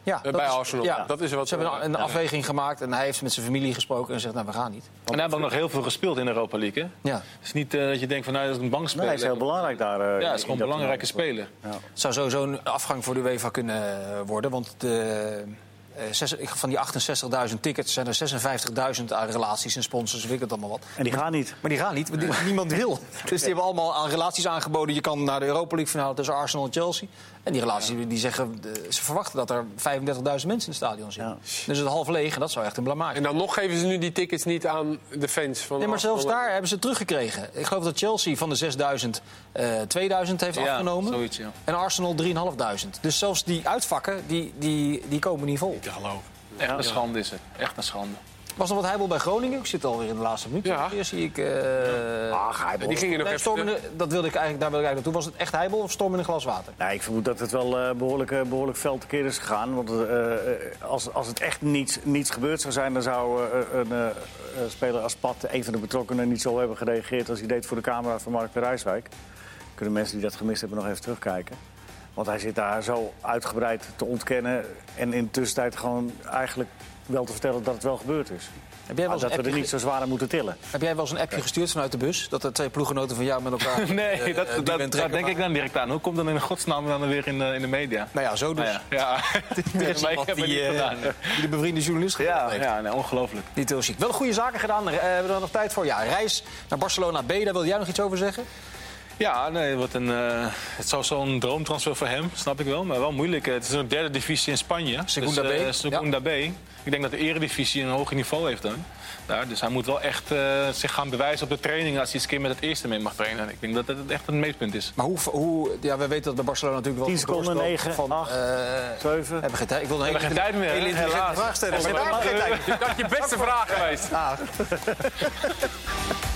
S1: ja,
S4: eh,
S1: dat
S4: bij
S1: is-
S4: Arsenal.
S1: ja.
S4: Dat is wat
S1: Ze hebben
S4: eh,
S1: een afweging gemaakt en hij heeft met zijn familie gesproken... en zegt, nou, we gaan niet.
S3: En hij heeft ook nog heel veel gespeeld in de Europa League. Hè?
S1: Ja.
S3: Het is niet eh, dat je denkt van nou, dat is een
S2: Nee,
S3: bankspeler.
S2: hij is heel belangrijk daar. eh,
S3: Ja, het is
S2: in
S3: gewoon een
S2: dat
S3: belangrijke
S2: toernooi.
S3: speler.
S1: Het zou sowieso een afgang voor de UEFA kunnen eh, worden. Want de, eh, zes- ik- van die 68.000 tickets zijn er 56.000 aan relaties en sponsors. Weet ik het allemaal wat.
S2: En die gaan niet.
S1: Maar die gaan niet, want die- niemand wil. Dus die hebben allemaal aan relaties aangeboden. Je kan naar de Europa League finale tussen Arsenal en Chelsea. En die relaties die zeggen, eh, ze verwachten dat er 35.000 mensen in het stadion zitten.
S2: Ja.
S1: Dus het half leeg en dat zou echt een blamage
S4: En dan nog geven ze nu die tickets niet aan de fans. Van
S1: Nee, maar
S4: Arsenal.
S1: zelfs daar hebben ze het teruggekregen. Ik geloof dat Chelsea van de 6000 eh 2000 heeft
S3: Ja,
S1: afgenomen.
S3: zoiets, ja.
S1: En Arsenal 3500. Dus zelfs die uitvakken, die, die, die komen niet vol.
S3: Echt een schande is het. Echt een schande.
S1: Was nog wat heibel bij Groningen? Ik zit alweer in de laatste minuut.
S4: Ja.
S1: Hier zie ik... eh,
S4: Die gingen
S1: nee,
S4: nog even.
S1: stormende, dat wilde ik eigenlijk, daar wilde ik eigenlijk naartoe. Was het echt heibel of storm in een glas water?
S2: Nou, ik vermoed dat het wel eh, behoorlijk, eh, behoorlijk fel tekeer is gegaan. Want eh, eh, als, als het echt niets, niets gebeurd zou zijn... dan zou eh, een eh, eh, speler als Pat, een van de betrokkenen... niet zo hebben gereageerd als hij deed voor de camera van Mark de Rijswijk. Kunnen mensen die dat gemist hebben nog even terugkijken. Want hij zit daar zo uitgebreid te ontkennen... en in de tussentijd gewoon eigenlijk wel te vertellen dat het wel gebeurd
S1: Heb
S2: is.
S1: jij
S2: Maar
S1: wel eens
S2: dat
S1: een
S2: we er
S1: appje,
S2: niet zo zwaar aan moeten tillen.
S1: ge- heb jij wel eens een appje gestuurd vanuit de bus? Dat er twee ploeggenoten van jou met elkaar... eh,
S3: *laughs* Nee,
S1: eh,
S3: dat,
S1: die
S3: dat,
S1: bent
S3: daar
S1: trekken
S3: denk ik dan direct aan. Hoe komt dan in godsnaam dan weer in de, in de media?
S1: Nou ja, zo dus.
S3: Nou
S1: *laughs*
S3: ja, ja. *laughs*
S1: Er is
S3: Maar ik
S1: iemand
S3: heb het niet
S1: die, eh,
S3: gedaan.
S1: die de bevriende journalist gedaan
S3: Ja,
S1: heeft.
S3: ja nee, ongelooflijk.
S1: Niet heel chic. Wel goede zaken gedaan. Eh, hebben we er nog tijd voor? Ja, reis naar Barcelona B. Daar wil jij nog iets over zeggen?
S3: Ja, nee, wat een, eh, het zou zo'n droomtransfer voor hem, snap ik wel. Maar wel moeilijk. Eh, Het is een derde divisie in Spanje.
S1: Segunda
S3: dus, eh,
S1: B,
S3: Segunda B. Ik denk dat de eredivisie een hoger niveau heeft dan. Daar, dus hij moet wel echt eh, zich gaan bewijzen op de training... als hij eens een keer met het eerste mee mag trainen. Ik denk dat dat echt het meetpunt is.
S1: Maar hoe, hoe ja, we weten dat bij Barcelona natuurlijk wel...
S2: 10 seconden,
S1: doorstroomt
S2: 9,
S1: van,
S2: 8,
S1: eh,
S2: 7.
S1: hebben we geen tijd. Ik wil een hele
S3: geen tijd meer, hè?
S1: hele intelligente
S3: Helaas.
S1: vraag stellen.
S4: Dat is je beste vraag geweest.
S1: Ah.